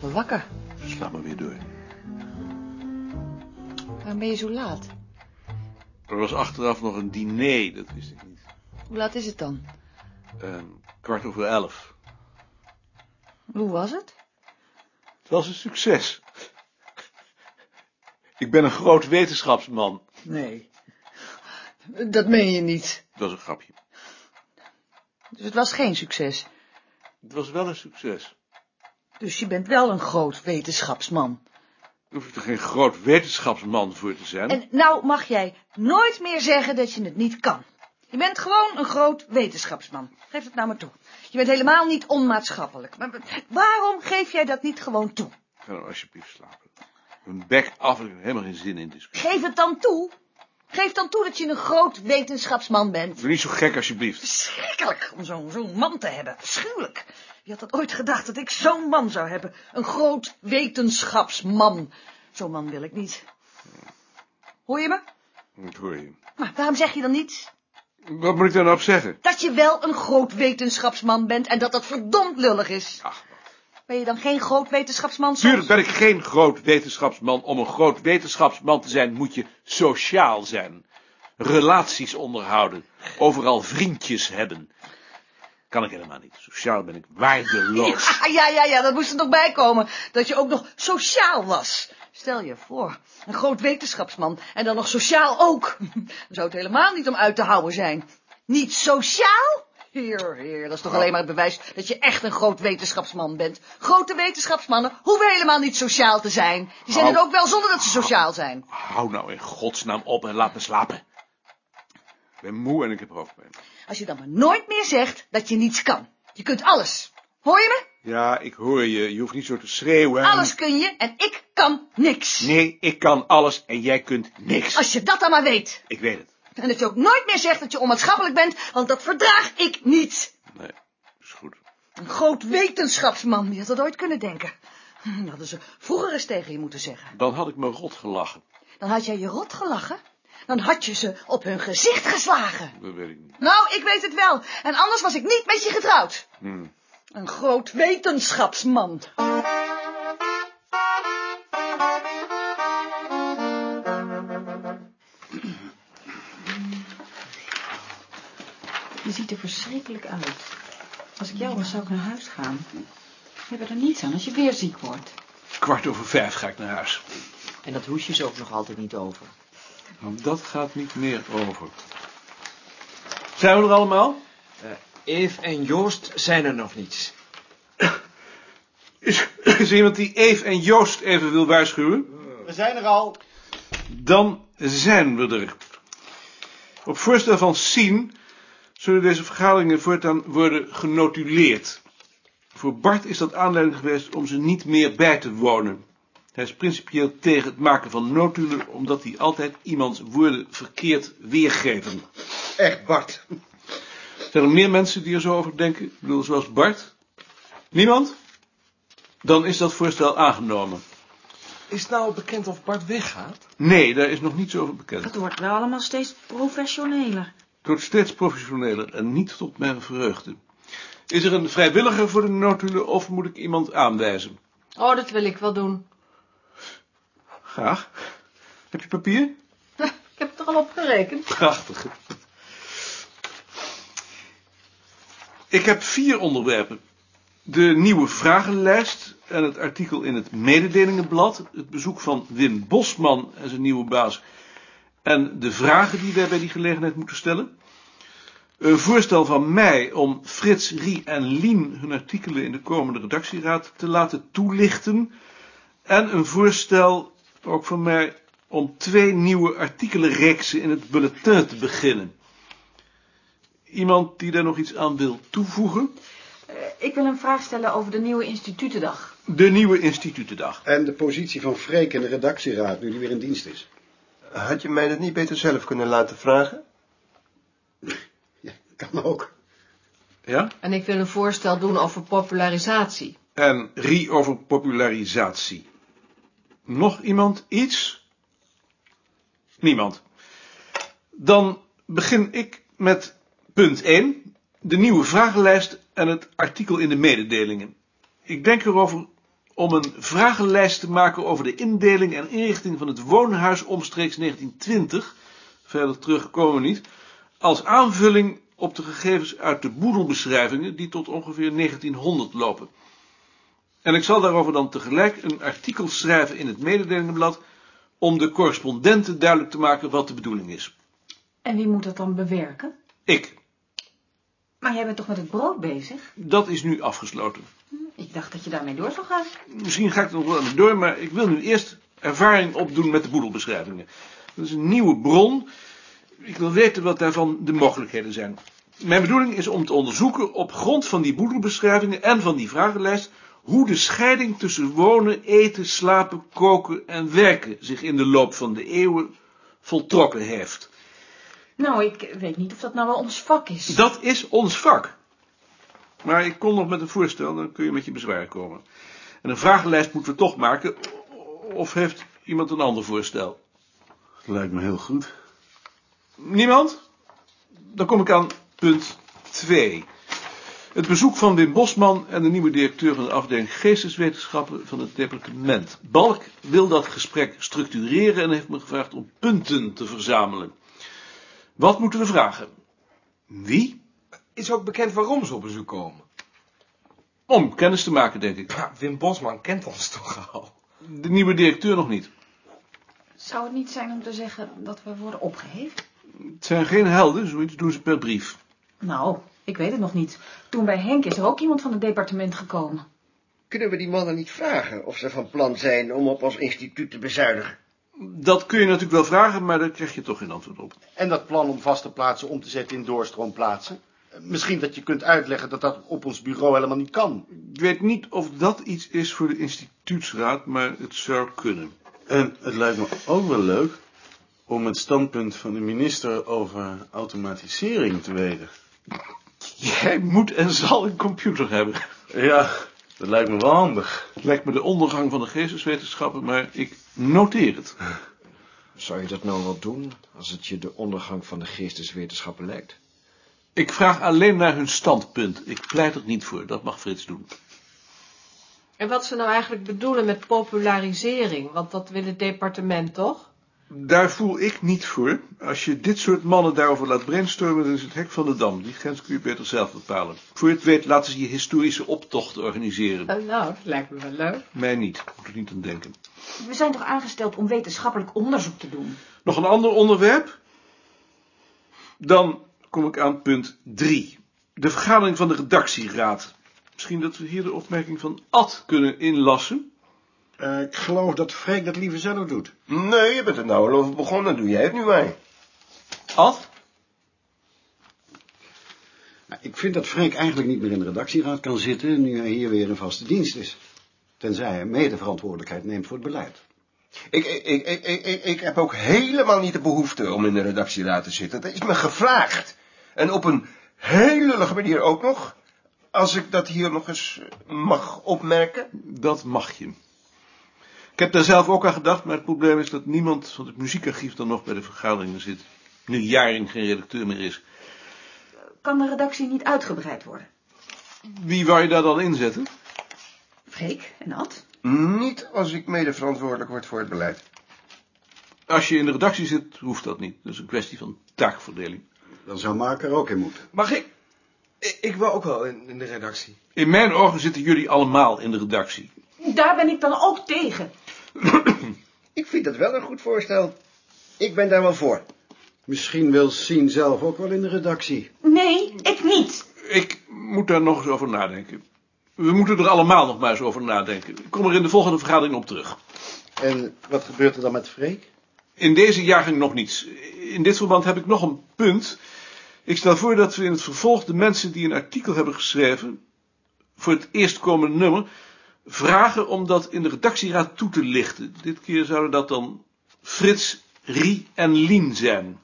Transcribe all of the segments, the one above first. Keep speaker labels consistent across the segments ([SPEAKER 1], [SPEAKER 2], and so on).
[SPEAKER 1] Dus
[SPEAKER 2] Waarom ben je zo laat?
[SPEAKER 1] Er was achteraf nog een diner, dat wist ik niet.
[SPEAKER 2] Hoe laat is het dan?
[SPEAKER 1] Ehm, kwart over elf.
[SPEAKER 2] Hoe was het?
[SPEAKER 1] Het was een succes. Ik ben een groot wetenschapsman.
[SPEAKER 2] Nee. Dat meen je niet.
[SPEAKER 1] Dat was een grapje.
[SPEAKER 2] Dus het was geen succes.
[SPEAKER 1] Het was wel een succes.
[SPEAKER 2] Dus je bent wel een groot wetenschapsman.
[SPEAKER 1] Er hoef je er geen groot wetenschapsman voor te zijn.
[SPEAKER 2] En nou mag jij nooit meer zeggen dat je het niet kan. Je bent gewoon een groot wetenschapsman. Geef het nou maar toe. Je bent helemaal niet onmaatschappelijk. Maar maar waarom geef jij dat niet gewoon toe?
[SPEAKER 1] Ga nou alsjeblieft slapen. Mijn bek af, ik heb helemaal geen zin in discussie.
[SPEAKER 2] Geef het dan toe. Geef dan toe dat je een groot wetenschapsman bent.
[SPEAKER 1] Doe niet zo gek alsjeblieft.
[SPEAKER 2] Verschrikkelijk om zo'n zo'n man te hebben. Afschuwelijk. Wie had dat ooit gedacht dat ik zo'n man zou hebben? Een groot wetenschapsman. Zo'n man wil ik niet. Hoor je me?
[SPEAKER 1] Dat hoor je.
[SPEAKER 2] Maar waarom zeg je dan niets?
[SPEAKER 1] Wat moet ik daar nou op zeggen?
[SPEAKER 2] Dat je wel een groot wetenschapsman bent en dat dat verdomd lullig is.
[SPEAKER 1] Ach,
[SPEAKER 2] Ben je dan geen groot wetenschapsman? soms?
[SPEAKER 1] Tuurlijk ben ik geen groot wetenschapsman. Om een groot wetenschapsman te zijn moet je sociaal zijn. Relaties onderhouden. Overal vriendjes hebben. Kan ik helemaal niet. Sociaal ben ik waardeloos.
[SPEAKER 2] Ja, ja, ja, ja, dat moest er nog bij komen. Dat je ook nog sociaal was. Stel je voor, een groot wetenschapsman en dan nog sociaal ook. Dan zou het helemaal niet om uit te houden zijn. Niet sociaal? Heer, heer, dat is toch alleen maar het bewijs dat je echt een groot wetenschapsman bent. Grote wetenschapsmannen hoeven helemaal niet sociaal te zijn. Die zijn het
[SPEAKER 1] Au.
[SPEAKER 2] ook wel zonder dat ze sociaal zijn.
[SPEAKER 1] Hou nou in godsnaam op en laat me slapen. Ik ben moe en ik heb hoofdpijn.
[SPEAKER 2] Als je dan maar nooit meer zegt dat je niets kan. Je kunt alles. Hoor je me?
[SPEAKER 1] Ja, ik hoor je. Je hoeft niet zo te schreeuwen.
[SPEAKER 2] Alles kun je en ik kan niks.
[SPEAKER 1] Nee, ik kan alles en jij kunt niks.
[SPEAKER 2] Als je dat dan maar weet.
[SPEAKER 1] Ik weet het.
[SPEAKER 2] En dat je ook nooit meer zegt dat je onmaatschappelijk bent, want dat verdraag ik niet.
[SPEAKER 1] Nee, is goed.
[SPEAKER 2] Een groot wetenschapsman, die had dat ooit kunnen denken. Hm, Dat hadden ze vroeger eens tegen je moeten zeggen.
[SPEAKER 1] Dan had ik me rot gelachen.
[SPEAKER 2] Dan had jij je rot gelachen. Dan had je ze op hun gezicht geslagen.
[SPEAKER 1] Dat weet ik niet.
[SPEAKER 2] Nou, ik weet het wel. En anders was ik niet met je getrouwd.
[SPEAKER 1] Hmm.
[SPEAKER 2] Een groot wetenschapsman.
[SPEAKER 3] Je ziet er verschrikkelijk uit. Als ik jou was, zou ik naar huis gaan. We hebben er niets aan als je weer ziek wordt.
[SPEAKER 1] Kwart over vijf ga ik naar huis.
[SPEAKER 4] En dat hoesje is ook nog altijd niet over.
[SPEAKER 1] Want dat gaat niet meer over. Zijn we er allemaal?
[SPEAKER 4] Eve en Joost zijn er nog niet.
[SPEAKER 1] Is, is er iemand die Eve en Joost even wil waarschuwen?
[SPEAKER 5] We zijn er al.
[SPEAKER 1] Dan zijn we er. Op voorstel van Sien zullen deze vergaderingen voortaan worden genotuleerd. Voor Bart is dat aanleiding geweest om ze niet meer bij te wonen. Hij is principieel tegen het maken van notulen, omdat die altijd iemands woorden verkeerd weergeven.
[SPEAKER 5] Echt, Bart.
[SPEAKER 1] Zijn er meer mensen die er zo over denken? Ik bedoel, zoals Bart? Niemand? Dan is dat voorstel aangenomen.
[SPEAKER 5] Is nou bekend of Bart weggaat?
[SPEAKER 1] Nee, daar is nog niets over bekend.
[SPEAKER 3] Het wordt wel allemaal steeds professioneler.
[SPEAKER 1] Het wordt steeds professioneler en niet tot mijn vreugde. Is er een vrijwilliger voor de notulen of moet ik iemand aanwijzen?
[SPEAKER 3] Oh, dat wil ik wel doen.
[SPEAKER 1] Graag. Heb je papier?
[SPEAKER 3] Ik heb het er al op gerekend.
[SPEAKER 1] Prachtig. Ik heb vier onderwerpen. De nieuwe vragenlijst en het artikel in het mededelingenblad. Het bezoek van Wim Bosman en zijn nieuwe baas. En de vragen die wij bij die gelegenheid moeten stellen. Een voorstel van mij om Frits, Rie en Lien hun artikelen in de komende redactieraad te laten toelichten. En een voorstel, ook van mij, om twee nieuwe artikelenreeksen in het bulletin te beginnen. Iemand die daar nog iets aan wil toevoegen?
[SPEAKER 3] ik wil een vraag stellen over de nieuwe institutendag.
[SPEAKER 1] De nieuwe institutendag.
[SPEAKER 6] En de positie van Freek in de redactieraad, nu die weer in dienst is.
[SPEAKER 5] Had je mij dat niet beter zelf kunnen laten vragen?
[SPEAKER 6] Ja, kan ook.
[SPEAKER 1] Ja?
[SPEAKER 3] En ik wil een voorstel doen over popularisatie.
[SPEAKER 1] En Rie over popularisatie. Nog iemand iets? Niemand. Dan begin ik met punt 1. De nieuwe vragenlijst en het artikel in de mededelingen. Ik denk erover om een vragenlijst te maken over de indeling en inrichting van het woonhuis omstreeks 1920, verder terugkomen we niet, als aanvulling op de gegevens uit de boedelbeschrijvingen die tot ongeveer 1900 lopen. En ik zal daarover dan tegelijk een artikel schrijven in het mededelingenblad om de correspondenten duidelijk te maken wat de bedoeling is.
[SPEAKER 3] En wie moet dat dan bewerken?
[SPEAKER 1] Ik,
[SPEAKER 3] Maar jij bent toch met het brood bezig?
[SPEAKER 1] dat is nu afgesloten.
[SPEAKER 3] Ik dacht dat je daarmee door zou gaan.
[SPEAKER 1] Misschien ga ik er nog wel aan door, maar ik wil nu eerst ervaring opdoen met de boedelbeschrijvingen. Dat is een nieuwe bron. Ik wil weten wat daarvan de mogelijkheden zijn. Mijn bedoeling is om te onderzoeken op grond van die boedelbeschrijvingen en van die vragenlijst hoe de scheiding tussen wonen, eten, slapen, koken en werken zich in de loop van de eeuwen voltrokken heeft.
[SPEAKER 3] Nou, ik weet niet of dat nou wel ons vak is.
[SPEAKER 1] Dat is ons vak. Maar ik kom nog met een voorstel, dan kun je met je bezwaar komen. En een vragenlijst moeten we toch maken, of heeft iemand een ander voorstel?
[SPEAKER 6] Lijkt me heel goed.
[SPEAKER 1] Niemand? Dan kom ik aan punt 2. Het bezoek van Wim Bosman en de nieuwe directeur van de afdeling Geesteswetenschappen van het departement. Balk wil dat gesprek structureren en heeft me gevraagd om punten te verzamelen. Wat moeten we vragen? Wie?
[SPEAKER 7] Is ook bekend waarom ze op bezoek komen.
[SPEAKER 1] Om kennis te maken, denk ik.
[SPEAKER 7] Ja, Wim Bosman kent ons toch al.
[SPEAKER 1] De nieuwe directeur nog niet.
[SPEAKER 3] Zou het niet zijn om te zeggen dat we worden opgeheven?
[SPEAKER 1] Het zijn geen helden, zoiets doen ze per brief.
[SPEAKER 3] Nou, ik weet het nog niet. Toen bij Henk is er ook iemand van het departement gekomen.
[SPEAKER 8] Kunnen we die mannen niet vragen of ze van plan zijn om op ons instituut te bezuinigen?
[SPEAKER 1] Dat kun je natuurlijk wel vragen, maar daar krijg je toch geen antwoord op.
[SPEAKER 9] En dat plan om vaste plaatsen om te zetten in doorstroomplaatsen. Eh, Misschien dat je kunt uitleggen dat dat op ons bureau helemaal niet kan.
[SPEAKER 1] Ik weet niet of dat iets is voor de instituutsraad, maar het zou kunnen.
[SPEAKER 10] En het lijkt me ook wel leuk om het standpunt van de minister over automatisering te weten.
[SPEAKER 1] Jij moet en zal een computer hebben.
[SPEAKER 10] Ja, dat lijkt me wel handig.
[SPEAKER 1] Het lijkt me de ondergang van de geesteswetenschappen, maar ik noteer het.
[SPEAKER 4] Zou je dat nou wel doen, als het je de ondergang van de geesteswetenschappen lijkt?
[SPEAKER 1] Ik vraag alleen naar hun standpunt. Ik pleit er niet voor, dat mag Frits doen.
[SPEAKER 11] En wat ze nou eigenlijk bedoelen met popularisering, want dat wil het departement toch?
[SPEAKER 1] Daar voel ik niet voor. Als je dit soort mannen daarover laat brainstormen, dan is het hek van de dam. Die grens kun je beter zelf bepalen. Voor je het weet laten ze je historische optocht organiseren.
[SPEAKER 11] Eh, nou, dat lijkt me wel leuk.
[SPEAKER 1] Mij niet, moet er niet aan denken.
[SPEAKER 3] We zijn toch aangesteld om wetenschappelijk onderzoek te doen?
[SPEAKER 1] Nog een ander onderwerp? Dan kom ik aan punt 3. De vergadering van de redactieraad. Misschien dat we hier de opmerking van Ad kunnen inlassen.
[SPEAKER 6] Eh, ik geloof dat Freek dat liever zelf doet.
[SPEAKER 5] Nee, je bent er nou al over begonnen. Doe jij het nu maar.
[SPEAKER 1] Ad?
[SPEAKER 6] Nou, ik vind dat Freek eigenlijk niet meer in de redactieraad kan zitten... nu hij hier weer in vaste dienst is. Tenzij hij medeverantwoordelijkheid neemt voor het beleid.
[SPEAKER 5] Ik, ik, ik, ik, ik- ik, ik heb ook helemaal niet de behoefte om in de redactieraad te zitten. Dat is me gevraagd. En op een heel lullige manier ook nog. Als ik dat hier nog eens eh, mag opmerken.
[SPEAKER 1] Dat mag je. Ik heb daar zelf ook aan gedacht, maar het probleem is dat niemand van het muziekarchief dan nog bij de vergaderingen zit. Nu Jaring geen redacteur meer is.
[SPEAKER 3] Kan de redactie niet uitgebreid worden?
[SPEAKER 1] Wie wou je daar dan inzetten?
[SPEAKER 3] Freek en Ad?
[SPEAKER 5] Niet als ik mede verantwoordelijk word voor het beleid.
[SPEAKER 1] Als je in de redactie zit, hoeft dat niet. Dat is een kwestie van taakverdeling.
[SPEAKER 6] Dan zou Mark er ook in moeten.
[SPEAKER 7] Mag ik? Ik, ik wil ook wel in, in de redactie.
[SPEAKER 1] In mijn ogen zitten jullie allemaal in de redactie.
[SPEAKER 3] Daar ben ik dan ook tegen.
[SPEAKER 8] Ik vind dat wel een goed voorstel. Ik ben daar wel voor.
[SPEAKER 6] Misschien wil Sien zelf ook wel in de redactie.
[SPEAKER 3] Nee, ik niet.
[SPEAKER 1] Ik moet daar nog eens over nadenken. We moeten er allemaal nog maar eens over nadenken. Ik kom er in de volgende vergadering op terug.
[SPEAKER 6] En wat gebeurt er dan met Freek?
[SPEAKER 1] In deze jaargang nog niets. In dit verband heb ik nog een punt. Ik stel voor dat we in het vervolg de mensen die een artikel hebben geschreven... voor het eerstkomende nummer... vragen om dat in de redactieraad toe te lichten. Dit keer zouden dat dan Frits, Rie en Lien zijn.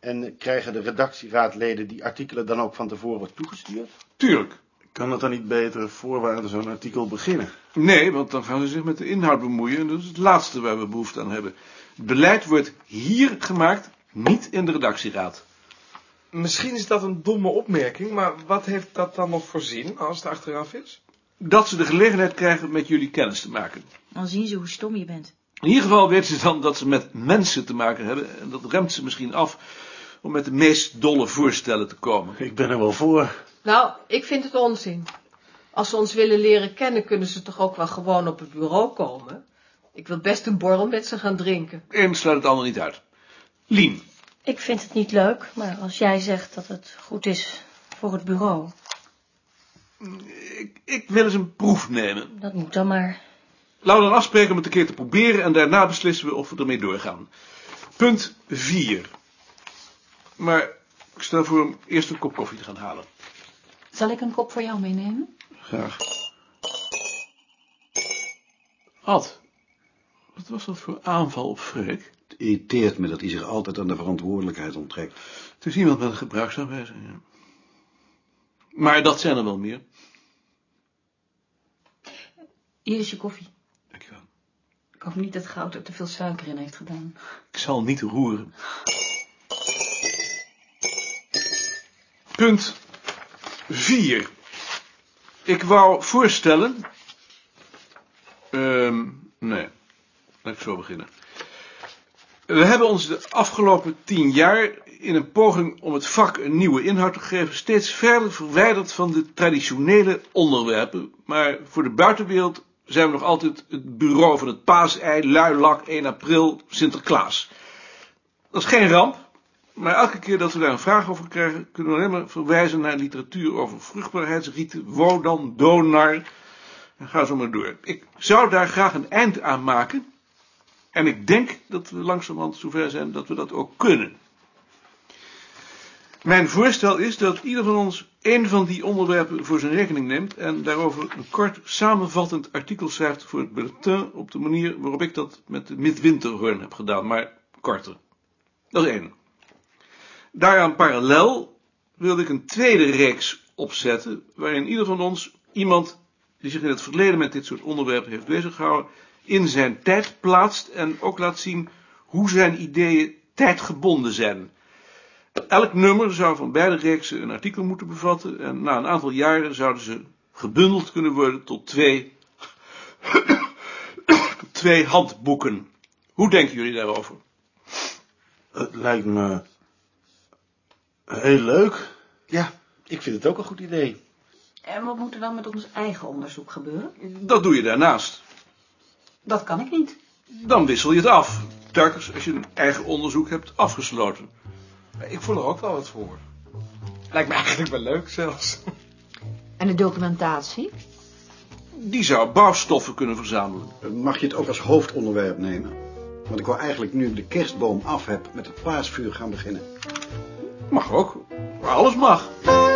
[SPEAKER 9] En krijgen de redactieraadleden die artikelen dan ook van tevoren toegestuurd?
[SPEAKER 1] Tuurlijk.
[SPEAKER 10] Kan het dan niet beter voor we aan zo'n artikel beginnen?
[SPEAKER 1] Nee, want dan gaan ze zich met de inhoud bemoeien. En dat is het laatste waar we behoefte aan hebben. Het beleid wordt hier gemaakt, niet in de redactieraad.
[SPEAKER 7] Misschien is dat een domme opmerking, maar wat heeft dat dan nog voor zin als het achteraf is?
[SPEAKER 1] dat ze de gelegenheid krijgen met jullie kennis te maken.
[SPEAKER 12] Dan zien ze hoe stom je bent.
[SPEAKER 1] In ieder geval weten ze dan dat ze met mensen te maken hebben. En dat remt ze misschien af om met de meest dolle voorstellen te komen.
[SPEAKER 10] Ik ben er wel voor.
[SPEAKER 11] Nou, ik vind het onzin. Als ze ons willen leren kennen, kunnen ze toch ook wel gewoon op het bureau komen? Ik wil best een borrel met ze gaan drinken.
[SPEAKER 1] Eén sluit het ander niet uit. Lien,
[SPEAKER 12] Ik vind het niet leuk, maar als jij zegt dat het goed is voor het bureau,
[SPEAKER 1] ik wil eens een proef nemen.
[SPEAKER 12] dat moet dan maar.
[SPEAKER 1] Laten we dan afspreken om het een keer te proberen en daarna beslissen we of we ermee doorgaan. Punt 4. Maar ik stel voor om eerst een kop koffie te gaan halen.
[SPEAKER 3] Zal ik een kop voor jou meenemen?
[SPEAKER 1] Graag. Ad, wat was dat voor aanval op Freek?
[SPEAKER 6] Het irriteert me dat hij zich altijd aan de verantwoordelijkheid onttrekt.
[SPEAKER 1] Het is iemand met een gebruiksaanwijzing, ja. Maar dat zijn er wel meer.
[SPEAKER 3] Hier is je koffie. Dankjewel. Ik hoop niet dat Goud er te veel suiker in heeft gedaan.
[SPEAKER 1] Ik zal niet roeren. Punt 4. Ik wou voorstellen... Ehm, nee, laat ik zo beginnen. We hebben ons de afgelopen tien jaar in een poging om het vak een nieuwe inhoud te geven steeds verder verwijderd van de traditionele onderwerpen. Maar voor de buitenwereld zijn we nog altijd het bureau van het paasei, luilak, 1 april, Sinterklaas. Dat is geen ramp, maar elke keer dat we daar een vraag over krijgen kunnen we alleen maar verwijzen naar literatuur over vruchtbaarheidsrieten, Wodan, Donar en ga zo maar door. Ik zou daar graag een eind aan maken. En ik denk dat we langzamerhand zover zijn dat we dat ook kunnen. Mijn voorstel is dat ieder van ons één van die onderwerpen voor zijn rekening neemt en daarover een kort samenvattend artikel schrijft voor het bulletin op de manier waarop ik dat met de midwinterhoorn heb gedaan, maar korter. Dat is één. Daaraan parallel wilde ik een tweede reeks opzetten, waarin ieder van ons iemand die zich in het verleden met dit soort onderwerpen heeft beziggehouden, in zijn tijd plaatst en ook laat zien hoe zijn ideeën tijdgebonden zijn. Elk nummer zou van beide reeksen een artikel moeten bevatten en na een aantal jaren zouden ze gebundeld kunnen worden tot twee, twee handboeken. Hoe denken jullie daarover?
[SPEAKER 10] Het lijkt me heel leuk.
[SPEAKER 9] Ja, ik vind het ook een goed idee.
[SPEAKER 3] En wat moet er dan met ons eigen onderzoek gebeuren?
[SPEAKER 1] Dat doe je daarnaast.
[SPEAKER 3] Dat kan ik niet.
[SPEAKER 1] Dan wissel je het af. Telkens als je een eigen onderzoek hebt afgesloten.
[SPEAKER 7] Ik voel er ook wel wat voor. Lijkt me eigenlijk wel leuk zelfs.
[SPEAKER 11] En de documentatie?
[SPEAKER 1] Die zou bouwstoffen kunnen verzamelen.
[SPEAKER 6] Eh, Mag je het ook als hoofdonderwerp nemen? Want ik wil eigenlijk nu de kerstboom af heb met het paasvuur gaan beginnen.
[SPEAKER 1] Mag ook. Alles mag.